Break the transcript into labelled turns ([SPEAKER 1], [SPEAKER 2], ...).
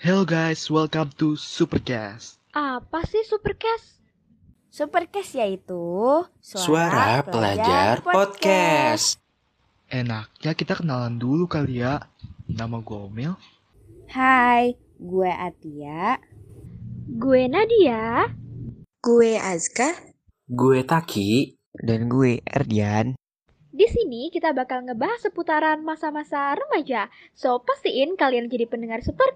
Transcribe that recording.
[SPEAKER 1] Hello guys, welcome to Supercast.
[SPEAKER 2] Apa sih Supercast?
[SPEAKER 3] Supercast yaitu
[SPEAKER 4] Suara Pelajar Podcast.
[SPEAKER 1] Enaknya kita kenalan dulu kali ya. Nama gue Omil.
[SPEAKER 3] Hai, gue Atia.
[SPEAKER 2] Gue Nadia.
[SPEAKER 5] Gue Azka.
[SPEAKER 4] Gue Taki.
[SPEAKER 6] Dan gue Erdian.
[SPEAKER 2] Di sini kita bakal ngebahas seputaran masa-masa remaja. So, pastiin kalian jadi pendengar Supercast.